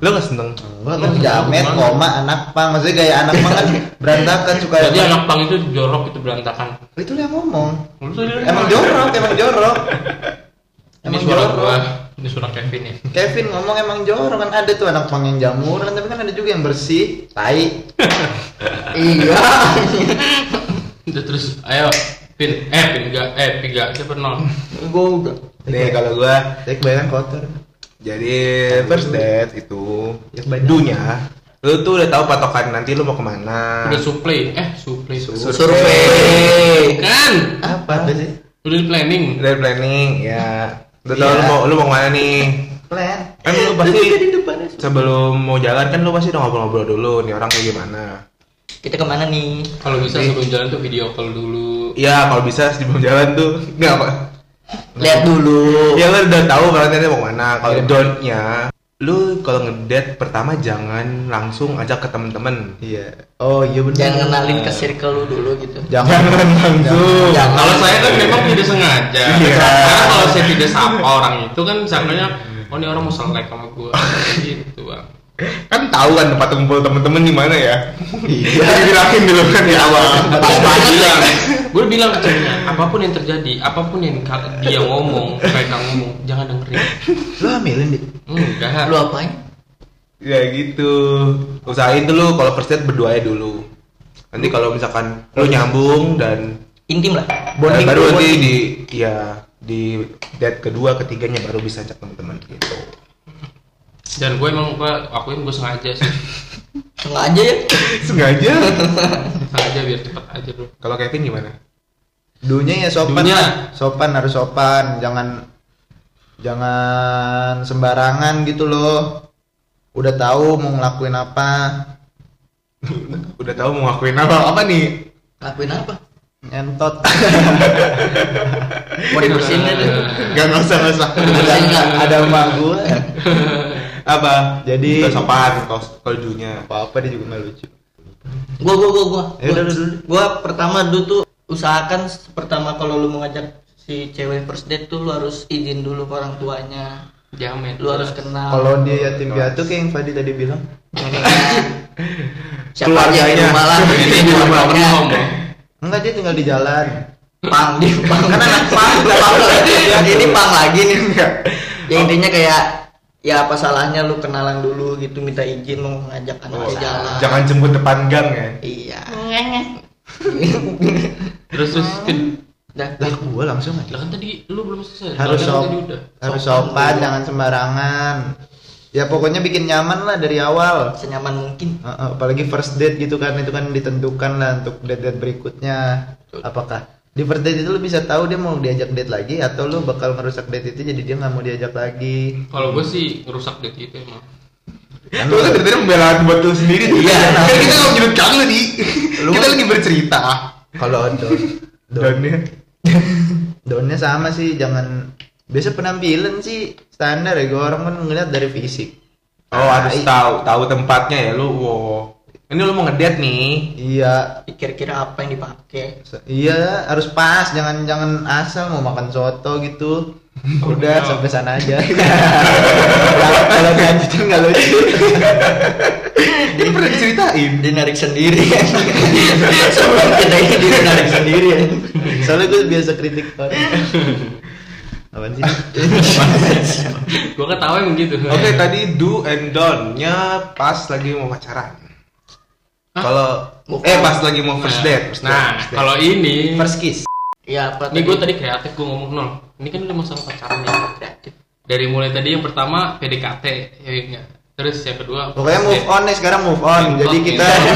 Speaker 2: Lo nggak seneng?
Speaker 4: Gua kan jamet
Speaker 1: Gimana?
Speaker 4: koma anak pang. Maksudnya gaya anak pang kan berantakan suka
Speaker 1: jadi anak pang itu jorok itu berantakan
Speaker 4: itu yang ngomong.
Speaker 1: Lu tuh dia-
Speaker 4: Emang jorok, emang jorok.
Speaker 1: Ini
Speaker 4: Emang
Speaker 1: suara gua,
Speaker 4: jorok.
Speaker 1: ini suara Kevin ya. nih.
Speaker 4: Kevin ngomong emang jorok kan ada tuh anak pang yang jamuran tapi kan ada juga yang bersih, tai.
Speaker 3: Iya.
Speaker 1: Udah terus, ayo Pin, eh Pin enggak, eh Pin enggak, siapa nol?
Speaker 3: Gua udah.
Speaker 2: Nih kalau gua
Speaker 4: Tapi kebanyakan kotor.
Speaker 2: jadi first date itu
Speaker 4: Ya, banyak.
Speaker 2: dunia lu tuh udah tahu patokan nanti lu mau kemana
Speaker 1: Udah supply, eh supply
Speaker 2: Survei.
Speaker 1: Kan,
Speaker 4: Apa sih?
Speaker 1: udah di planning.
Speaker 2: dari planning ya udah tahu
Speaker 4: Iya.
Speaker 2: lu mau lu mau kemana nih
Speaker 4: Plan.
Speaker 2: kan lu pasti
Speaker 4: Di depannya.
Speaker 2: sebelum mau jalan kan lu pasti udah ngobrol-ngobrol dulu nih orang kayak gimana
Speaker 3: Kita kemana nih?
Speaker 1: Kalau bisa sebelum jalan tuh video call dulu.
Speaker 2: ya kalau bisa sebelum jalan tuh nggak apa
Speaker 3: Lihat dulu.
Speaker 2: ya lu udah tahu kalau nanti mau kemana kalau
Speaker 4: Iya.
Speaker 2: don't-nya lu kalau ngedate pertama jangan langsung ajak ke temen-temen
Speaker 4: Iya. Oh, iya benar.
Speaker 3: Jangan kenalin ke circle lu dulu gitu.
Speaker 4: Jangan langsung.
Speaker 3: Jangan.
Speaker 1: Kalau saya kan memang tidak sengaja.
Speaker 2: Iya.
Speaker 1: Karena kalau saya tidak sapa orang itu kan sebenarnya oh ini orang mau selek sama gua gitu bang.
Speaker 2: kan tahu kan tempat kumpul temen-temen di mana ya
Speaker 4: Iya.
Speaker 2: Udah dibilangin dulu kan di awal
Speaker 1: Pas gua bilang, gue bilang ke ceweknya, apapun yang terjadi, apapun yang kal- dia ngomong, mereka ngomong, jangan dengerin.
Speaker 4: Lu hamilin di.
Speaker 1: Enggak.
Speaker 3: Lu apain?
Speaker 2: ya gitu usahain dulu kalau first date berdua ya dulu nanti kalau misalkan lu nyambung dan
Speaker 3: Intim lah.
Speaker 4: Bonding
Speaker 2: dan baru
Speaker 4: dulu,
Speaker 2: nanti
Speaker 4: bonding.
Speaker 2: di ya di date kedua ketiganya baru bisa ajak teman-teman gitu
Speaker 1: dan gue emang gue akuin gue sengaja sih
Speaker 3: Sengaja ya.
Speaker 2: sengaja
Speaker 1: sengaja biar cepet aja bro
Speaker 2: kalau Kevin gimana
Speaker 4: Dunia ya sopan.
Speaker 1: Dunya.
Speaker 4: lah. Sopan harus sopan, jangan jangan sembarangan gitu loh. Udah tahu mau ngelakuin apa.
Speaker 2: udah tahu mau ngakuin apa apa nih
Speaker 3: Lakuin apa?
Speaker 4: Nyentot.
Speaker 3: Mau dibersihin aja.
Speaker 2: gak nggak usah nggak usah
Speaker 4: ada ada emak gua.
Speaker 2: apa
Speaker 4: Jadi-
Speaker 2: Udah sopan kalau kalau dunia
Speaker 4: Apa-apa dia juga nggak lucu.
Speaker 3: Gua gua gua gua.
Speaker 4: Ya udah, udah, udah.
Speaker 3: Gua pertama lu tuh usahakan s- pertama kalau lu mau ngajak si cewek first date tuh lu harus izin dulu ke orang tuanya.
Speaker 1: jamet
Speaker 3: Lu harus kenal.
Speaker 4: Kalau dia yatim piatu kayak yang Fadi tadi bilang.
Speaker 3: Siapa aja
Speaker 2: Keluarganya.
Speaker 3: yang rumah lah. Iya.
Speaker 1: ini
Speaker 3: Izin
Speaker 1: gue
Speaker 3: dulu
Speaker 1: nggak
Speaker 3: orangnya.
Speaker 1: ngomong
Speaker 4: Enggak dia tinggal di jalan.
Speaker 3: Pang di pang kan anak pang. udah pang lagi. Ini pang lagi nih. Ya intinya kayak ya apa salahnya lu kenalan dulu gitu minta izin mau ngajak anak
Speaker 2: Oh,
Speaker 3: lu jalan.
Speaker 2: jangan jemput depan gang ya
Speaker 3: Iya.
Speaker 1: terus terus
Speaker 2: Oh.
Speaker 1: Vin,
Speaker 3: Dah.
Speaker 4: Lah gua langsung aja.
Speaker 1: lah kan tadi lu belum selesai Soalnya kan
Speaker 4: harus sop,
Speaker 1: tadi udah
Speaker 4: harus sopan jangan sembarangan ya pokoknya bikin nyaman lah dari awal
Speaker 3: Senyaman mungkin.
Speaker 4: Uh, uh, apalagi first date gitu kan itu kan ditentukan lah untuk date date berikutnya apakah di first date itu lu bisa tahu dia mau diajak date lagi atau lu bakal merusak date itu jadi dia nggak mau diajak lagi
Speaker 1: Kalau gue sih ngerusak date itu emang.
Speaker 4: Kan
Speaker 2: Lu kan
Speaker 4: lu-
Speaker 2: ceritanya pembelaan buat lu sendiri Di.
Speaker 4: Iya.
Speaker 2: Kan kita nggak menyudut kamu di.
Speaker 4: Lu-
Speaker 2: Kita lagi bercerita.
Speaker 4: kalau don don
Speaker 2: Dan ya.
Speaker 4: donnya sama sih jangan biasa penampilan sih standar ya gue orang kan ngeliat dari fisik
Speaker 2: Oh, harus
Speaker 4: Nah, i-
Speaker 2: tahu tahu tempatnya ya lu. Wow. Ini lu mau ngedate nih.
Speaker 4: iya
Speaker 3: Kira-kira apa yang dipakai?
Speaker 4: Se- Iya, harus pas, jangan jangan asal mau makan soto gitu. Udah
Speaker 1: Oh.
Speaker 4: sampai sana aja. Kalau- Kalau dilanjutin nggak lucu.
Speaker 2: Ini pernah diceritain.
Speaker 3: Dia narik sendiri Sebelum kita ini dia narik sendiri ya.
Speaker 4: Soalnya gue biasa kritik orang. Apaan sih?
Speaker 1: Gue ketawa emang gitu.
Speaker 2: Oke, tadi do and don't-nya pas lagi mau pacaran. Kalau eh pas lagi mau first date, first
Speaker 1: Oh.
Speaker 2: date,
Speaker 1: Nah,
Speaker 2: first date.
Speaker 1: kalau ini,
Speaker 4: First kiss.
Speaker 3: Iya apa
Speaker 1: ini gue tadi kreatif gue ngomong nol. Ini kan udah masalah pacaran nih. Dari mulai tadi yang pertama PDKT, ya enggak. Terus yang kedua, first
Speaker 4: Pokoknya move
Speaker 1: date.
Speaker 4: on nih sekarang move on. Jadi
Speaker 1: Oke.
Speaker 4: kita
Speaker 3: Ini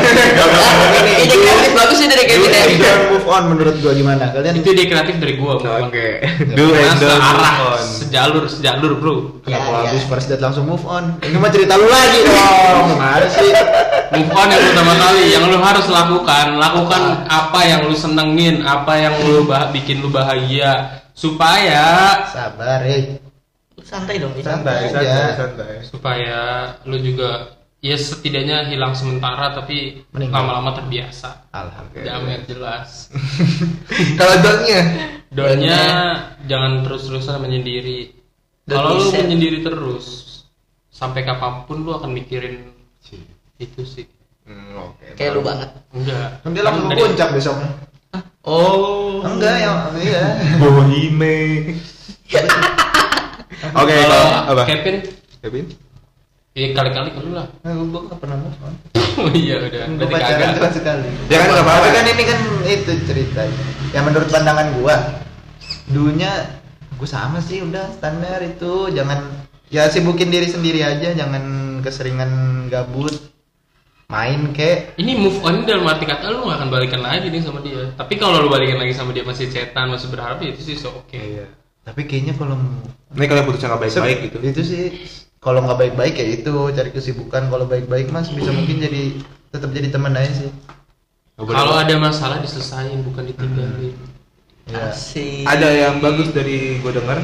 Speaker 4: ini
Speaker 3: kreatif Iya, bagus sih dari Kevin ya.
Speaker 4: do and move on menurut gue gimana? Kalian
Speaker 1: Itu dia kreatif dari gue.
Speaker 2: Oke. Do and don't move
Speaker 1: Searah,
Speaker 2: on.
Speaker 1: sejalur, sejalur bro.
Speaker 4: Kenapa
Speaker 3: Ya, ya.
Speaker 4: habis first date langsung move on? Ini mah cerita lu lagi dong. Mana sih?
Speaker 1: Move on yang pertama kali yang lu harus lakukan, lakukan apa yang lu senengin, apa yang lu bah- bikin lu bahagia supaya
Speaker 4: Sabar, eh.
Speaker 3: Santai dong, Bi.
Speaker 2: Santai,
Speaker 4: Santai
Speaker 2: santai,
Speaker 4: aja.
Speaker 2: santai.
Speaker 1: supaya lu juga ya setidaknya hilang sementara tapi
Speaker 4: Meninggal.
Speaker 1: lama-lama terbiasa.
Speaker 4: Alhamdulillah.
Speaker 1: Jamet jelas.
Speaker 2: Kalau don't-nya
Speaker 1: Donnya jangan terus-terusan menyendiri.
Speaker 3: Don't
Speaker 1: Kalau
Speaker 3: be
Speaker 1: lu
Speaker 3: sad.
Speaker 1: menyendiri terus sampai kapanpun lu akan mikirin itu sih.
Speaker 2: Hmm, oke.
Speaker 3: Kayak lu banget.
Speaker 1: Enggak.
Speaker 4: Kan dia langsung ke
Speaker 1: Dari-
Speaker 4: puncak besok.
Speaker 2: Oh.
Speaker 4: Enggak ya, iya.
Speaker 2: Bohime. Oke,
Speaker 1: Kalau
Speaker 2: kalau apa?
Speaker 1: Kevin,
Speaker 2: Kevin?
Speaker 1: ya kali-kali ke lu lah.
Speaker 4: Nah, gue gak pernah move on.
Speaker 1: Oh iya udah.
Speaker 4: Gue
Speaker 1: Berarti
Speaker 4: pacaran
Speaker 1: kagak.
Speaker 4: cuma sekali.
Speaker 2: Ya kan, nggak apa-apa.
Speaker 4: Tapi kan ini kan itu ceritanya. Ya menurut pandangan gua, dunia gue sama sih udah standar itu. Jangan ya sibukin diri sendiri aja, jangan keseringan gabut main kek.
Speaker 1: Ini move on dalam arti kata lu gak akan balikan lagi nih sama dia. Tapi kalau lu balikan lagi sama dia masih cetan, masih berharap ya itu sih so oke.
Speaker 2: Iya.
Speaker 4: Tapi kayaknya kalau
Speaker 2: Ini kalian putusnya nggak baik-baik gitu.
Speaker 4: itu sih kalau nggak baik-baik ya itu cari kesibukan kalau baik-baik mas bisa mungkin jadi tetap jadi teman aja sih
Speaker 2: Nggak boleh.
Speaker 1: Kalau ada masalah diselesain bukan ditinggalin.
Speaker 4: ya.
Speaker 3: Asik.
Speaker 2: ada yang bagus dari gue denger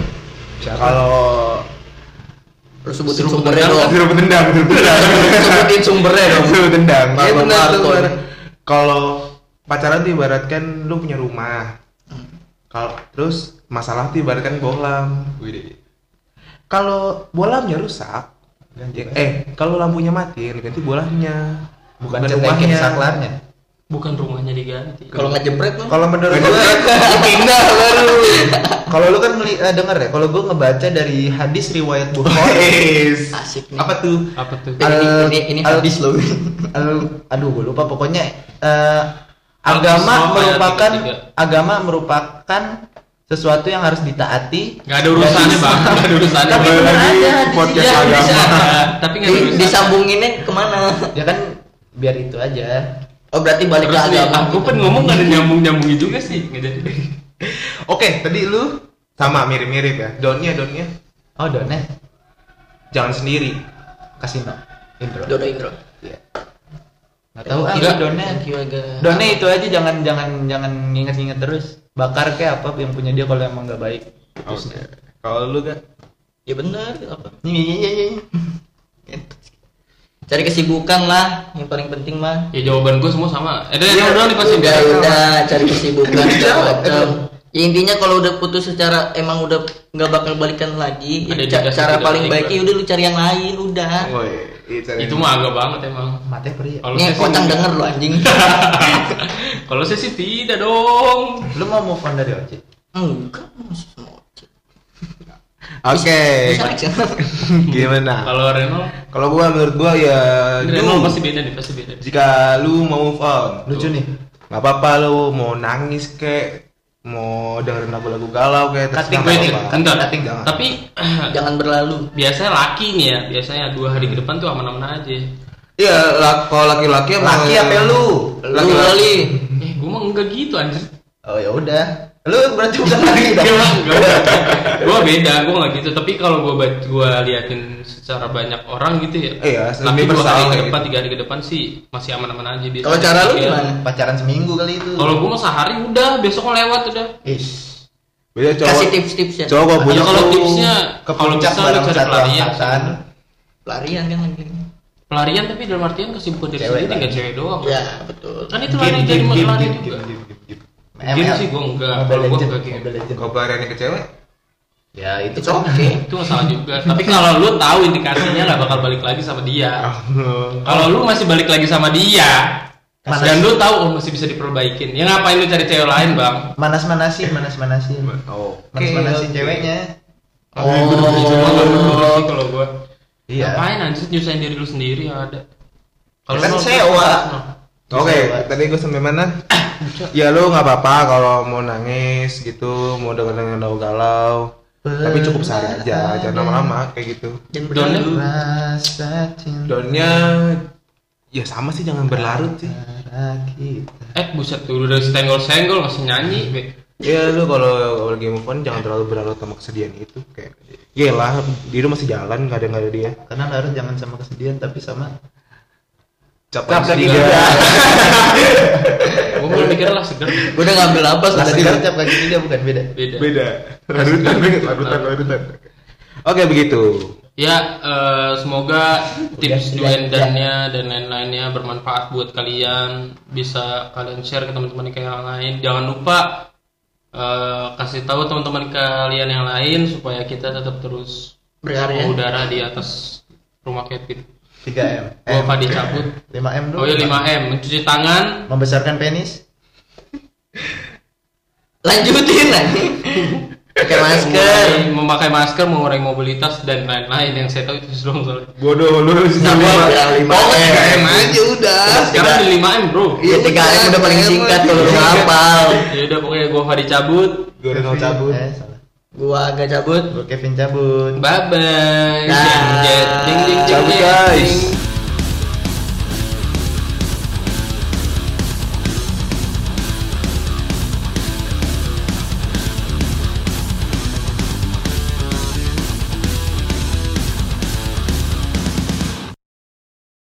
Speaker 2: kalau
Speaker 3: Lu sebutin
Speaker 1: Suruh
Speaker 3: sumbernya
Speaker 1: berenang.
Speaker 3: dong.
Speaker 2: Suruh tendang, suruh tendang.
Speaker 3: Sebutin sumbernya dong.
Speaker 2: Suruh tendang.
Speaker 3: Iya,
Speaker 2: Kalau
Speaker 3: benar,
Speaker 2: Marco,
Speaker 3: benar.
Speaker 2: Kalau pacaran tuh ibaratkan lu punya rumah. Kalau terus masalah tuh ibaratkan bolam. Kalau bolamnya rusak, ya- eh kalau lampunya mati yang diganti bolanya
Speaker 4: bukan cetekin saklarnya
Speaker 1: Bukan rumahnya diganti.
Speaker 3: Kalau nggak jebret mah.
Speaker 4: kalau menurut gue
Speaker 3: Pindah baru.
Speaker 4: kalau lu kan ngeli, eh, denger ya kalau gue ngebaca dari hadis riwayat bukhari
Speaker 2: Yes.
Speaker 3: Asik nih.
Speaker 2: Apa tuh?
Speaker 1: Apa tuh?
Speaker 3: Ini ini ini
Speaker 4: Al-
Speaker 3: habis loh.
Speaker 4: Al- aduh gue lupa pokoknya eh,
Speaker 1: Al-Isra
Speaker 4: agama
Speaker 1: ayat
Speaker 4: merupakan
Speaker 1: 33.
Speaker 4: agama merupakan sesuatu yang harus ditaati
Speaker 1: Gak ada urusannya
Speaker 4: Dan-
Speaker 1: bang, gak ada urusannya.
Speaker 4: Tapi
Speaker 1: Bang.
Speaker 4: bener
Speaker 2: lagi
Speaker 4: ada hadis
Speaker 2: podcast
Speaker 4: ini.
Speaker 2: agama.
Speaker 1: iya.
Speaker 4: Bisa.
Speaker 1: Tapi nggak ada
Speaker 3: Di-
Speaker 1: urusannya.
Speaker 3: Disambunginnya kemana?
Speaker 4: ya kan biar itu aja
Speaker 3: Oh berarti balik
Speaker 1: Terus
Speaker 3: lagi
Speaker 1: nih, aku pun ngomong gak ada nyambung-nyambungin juga sih. Nggak jadi.
Speaker 2: Oke, tadi lu sama mirip-mirip ya. Donnya, donnya.
Speaker 4: oh donet
Speaker 2: Jangan sendiri.
Speaker 4: kasino intro
Speaker 3: Dodo Indro.
Speaker 4: nggak tahu ah
Speaker 1: Enggak.
Speaker 4: gua donet
Speaker 3: Thank you aga.
Speaker 4: donet itu aja jangan jangan jangan nginget-nginget terus bakar kayak apa yang punya dia kalau emang nggak baik
Speaker 2: Oke. Kalau lu gak
Speaker 3: Ya bener apa?
Speaker 4: Iya, iya, iya, iya.
Speaker 3: Gitu Cari kesibukan lah, yang paling penting mah.
Speaker 1: Ya jawaban gue semua sama. Eh udah, ya, udah nih pasti
Speaker 3: udah,
Speaker 1: biar.
Speaker 3: Iya, udah cari kesibukan segala
Speaker 2: Jawab,
Speaker 3: macam. Ya intinya kalau udah putus secara emang udah nggak bakal balikan lagi, ya
Speaker 1: Ada
Speaker 3: ca-
Speaker 1: dikasih
Speaker 3: cara
Speaker 1: tidak
Speaker 3: paling
Speaker 1: balik,
Speaker 3: baiknya
Speaker 1: Bang.
Speaker 3: udah lu cari yang lain udah.
Speaker 2: Woi, it's an-
Speaker 1: Itu mah agak banget emang.
Speaker 4: Mate pria.
Speaker 1: Kalau
Speaker 3: Nih
Speaker 1: saya sih-
Speaker 3: kocang denger lo anjing.
Speaker 1: Kalau saya sih tidak dong.
Speaker 4: Lu mau move on dari Oci?
Speaker 3: Enggak, maksud semua.
Speaker 2: Oke.
Speaker 3: Bisa action.
Speaker 2: Gimana?
Speaker 1: Kalau Reno,
Speaker 2: Kalau gua menurut gua ya
Speaker 1: Reno
Speaker 2: lu
Speaker 1: pasti beda nih, pasti beda.
Speaker 2: jika lu mau move on,
Speaker 4: Lucu nih.
Speaker 2: nggak apa-apa lu mau nangis kek, mau dengerin lagu-lagu galau kek,
Speaker 4: Cutting,
Speaker 2: terserah, nggak
Speaker 4: cutting,
Speaker 2: apa-apa.
Speaker 1: Bentar,
Speaker 4: Cutting,
Speaker 2: jangan.
Speaker 1: tapi
Speaker 3: Jangan berlalu.
Speaker 1: biasanya laki nih ya, biasanya dua hari ke depan tuh aman-aman aja.
Speaker 2: Iya, la- kalau laki-laki emang-
Speaker 4: Laki apa lu?
Speaker 3: Lagi
Speaker 2: Laki-laki.
Speaker 3: kali.
Speaker 1: Eh, gue mah enggak gitu anjir.
Speaker 3: oh ya udah lu berarti bukan lagi dong
Speaker 1: Iya. gue gitu. beda gue nggak gitu tapi kalau gue gua liatin secara banyak orang gitu ya
Speaker 2: Iya,
Speaker 1: tapi
Speaker 2: lebih
Speaker 1: dua
Speaker 2: bersaing
Speaker 1: hari ke
Speaker 2: kayak
Speaker 1: depan
Speaker 2: gitu.
Speaker 1: tiga hari ke depan sih masih aman-aman aja biasa
Speaker 3: kalau cara lu
Speaker 1: Iya.
Speaker 3: gimana
Speaker 4: pacaran seminggu kali itu
Speaker 1: kalau gue mau sehari udah besok mau lewat udah
Speaker 4: Ish.
Speaker 2: Beda cowok.
Speaker 3: kasih tips-tipsnya
Speaker 4: cowok gua
Speaker 1: Ya,
Speaker 4: punya
Speaker 1: kalau
Speaker 4: tuh
Speaker 1: tipsnya,
Speaker 4: ke
Speaker 1: kalau
Speaker 4: puncak
Speaker 1: bisa lu
Speaker 4: bareng
Speaker 1: cari
Speaker 4: satu
Speaker 1: pelarian.
Speaker 4: angkatan
Speaker 3: pelarian kan lagi
Speaker 1: pelarian tapi dalam artian kesibukan dari
Speaker 4: Cewek
Speaker 1: sendiri
Speaker 4: lah.
Speaker 1: nggak cewek doang
Speaker 3: ya betul
Speaker 1: kan itu lari jadi mau lari juga game
Speaker 4: ML.
Speaker 1: sih gue enggak
Speaker 4: Mobile
Speaker 1: kalau gue
Speaker 4: Legend,
Speaker 1: enggak game
Speaker 4: Mobile Legend.
Speaker 2: Kalau pelariannya ke cewek,
Speaker 4: ya itu
Speaker 3: it's
Speaker 4: kan
Speaker 3: okay
Speaker 1: itu masalah juga tapi kalau lu tahu indikasinya nggak bakal balik lagi sama
Speaker 3: Ah.
Speaker 1: dia kalau lu masih balik lagi sama dia
Speaker 4: Masa
Speaker 1: dan lu tahu oh masih bisa diperbaikin ya ngapain lu cari cewek lain bang
Speaker 4: manas manasin manas manasin
Speaker 2: oh.
Speaker 4: manas manasin
Speaker 3: oke.
Speaker 4: ceweknya
Speaker 1: oh, oh. kalau gue
Speaker 4: iya
Speaker 1: ngapain anjir nyusahin diri lu sendiri yang ada
Speaker 4: Kan
Speaker 1: lu-
Speaker 4: sewa.
Speaker 2: Oke, tadi gue sampai mana? ya lu nggak apa-apa kalau mau nangis gitu, mau denger dengerin lagu galau. Tapi cukup sehari aja, jangan lama-lama kayak gitu.
Speaker 3: dan
Speaker 1: Donnya
Speaker 3: berlalu
Speaker 4: rasa cinta
Speaker 2: Downnya ya sama sih jangan berlarut sih.
Speaker 4: kita
Speaker 1: eh buset tuh udah senggol-senggol masih nyanyi Be.
Speaker 2: Ya lu kalau lagi move on jangan terlalu berlarut sama kesedihan itu kayak ya Gila, dia masih jalan, gak ada nggak ada dia.
Speaker 4: karena harus jangan sama kesedihan tapi sama
Speaker 2: Capek
Speaker 1: kaki
Speaker 2: dia.
Speaker 1: gue mulai mikir lah seger
Speaker 3: gue udah ngambil napas
Speaker 4: Lah,
Speaker 3: tadi
Speaker 4: sekarang tiap kaki dia bukan beda
Speaker 1: beda
Speaker 2: Beda. Larutan, larutan, larutan. Oke begitu.
Speaker 1: Ya, eh, semoga
Speaker 3: Ya,
Speaker 1: tips
Speaker 4: udah,
Speaker 1: join dan-nya dan lain-lainnya bermanfaat buat kalian. Bisa kalian share ke teman-teman kalian yang lain. Jangan lupa eh, kasih tahu teman-teman kalian yang lain supaya kita tetap terus
Speaker 3: berkarya
Speaker 1: udara di atas rumah Kevin.
Speaker 4: 3 m
Speaker 1: Gua
Speaker 3: Eh,
Speaker 4: m
Speaker 1: Fadi cabut.
Speaker 4: 5 m dulu
Speaker 1: Oh ya 5M, mencuci tangan,
Speaker 4: membesarkan penis
Speaker 3: lanjutin lagi pakai masker
Speaker 1: mengurangi- memakai masker, mengurangi mobilitas dan lain-lain yang saya tahu itu sebelum soalnya.
Speaker 2: Bodoh lu sih.
Speaker 3: Nah, gua
Speaker 2: Lima-
Speaker 3: udah
Speaker 2: lima
Speaker 3: pokoknya
Speaker 2: M.
Speaker 3: 3M aja udah
Speaker 1: Sekarang di 5M, Bro.
Speaker 3: Ah, Iya, 3M udah paling singkat kalau lu hafal.
Speaker 1: Ya udah pokoknya gua Fadi cabut.
Speaker 2: Gue udah mau cabut.
Speaker 4: eh salah
Speaker 3: Gua agak cabut.
Speaker 4: gue Kevin cabut
Speaker 1: Bye bye.
Speaker 3: Dah.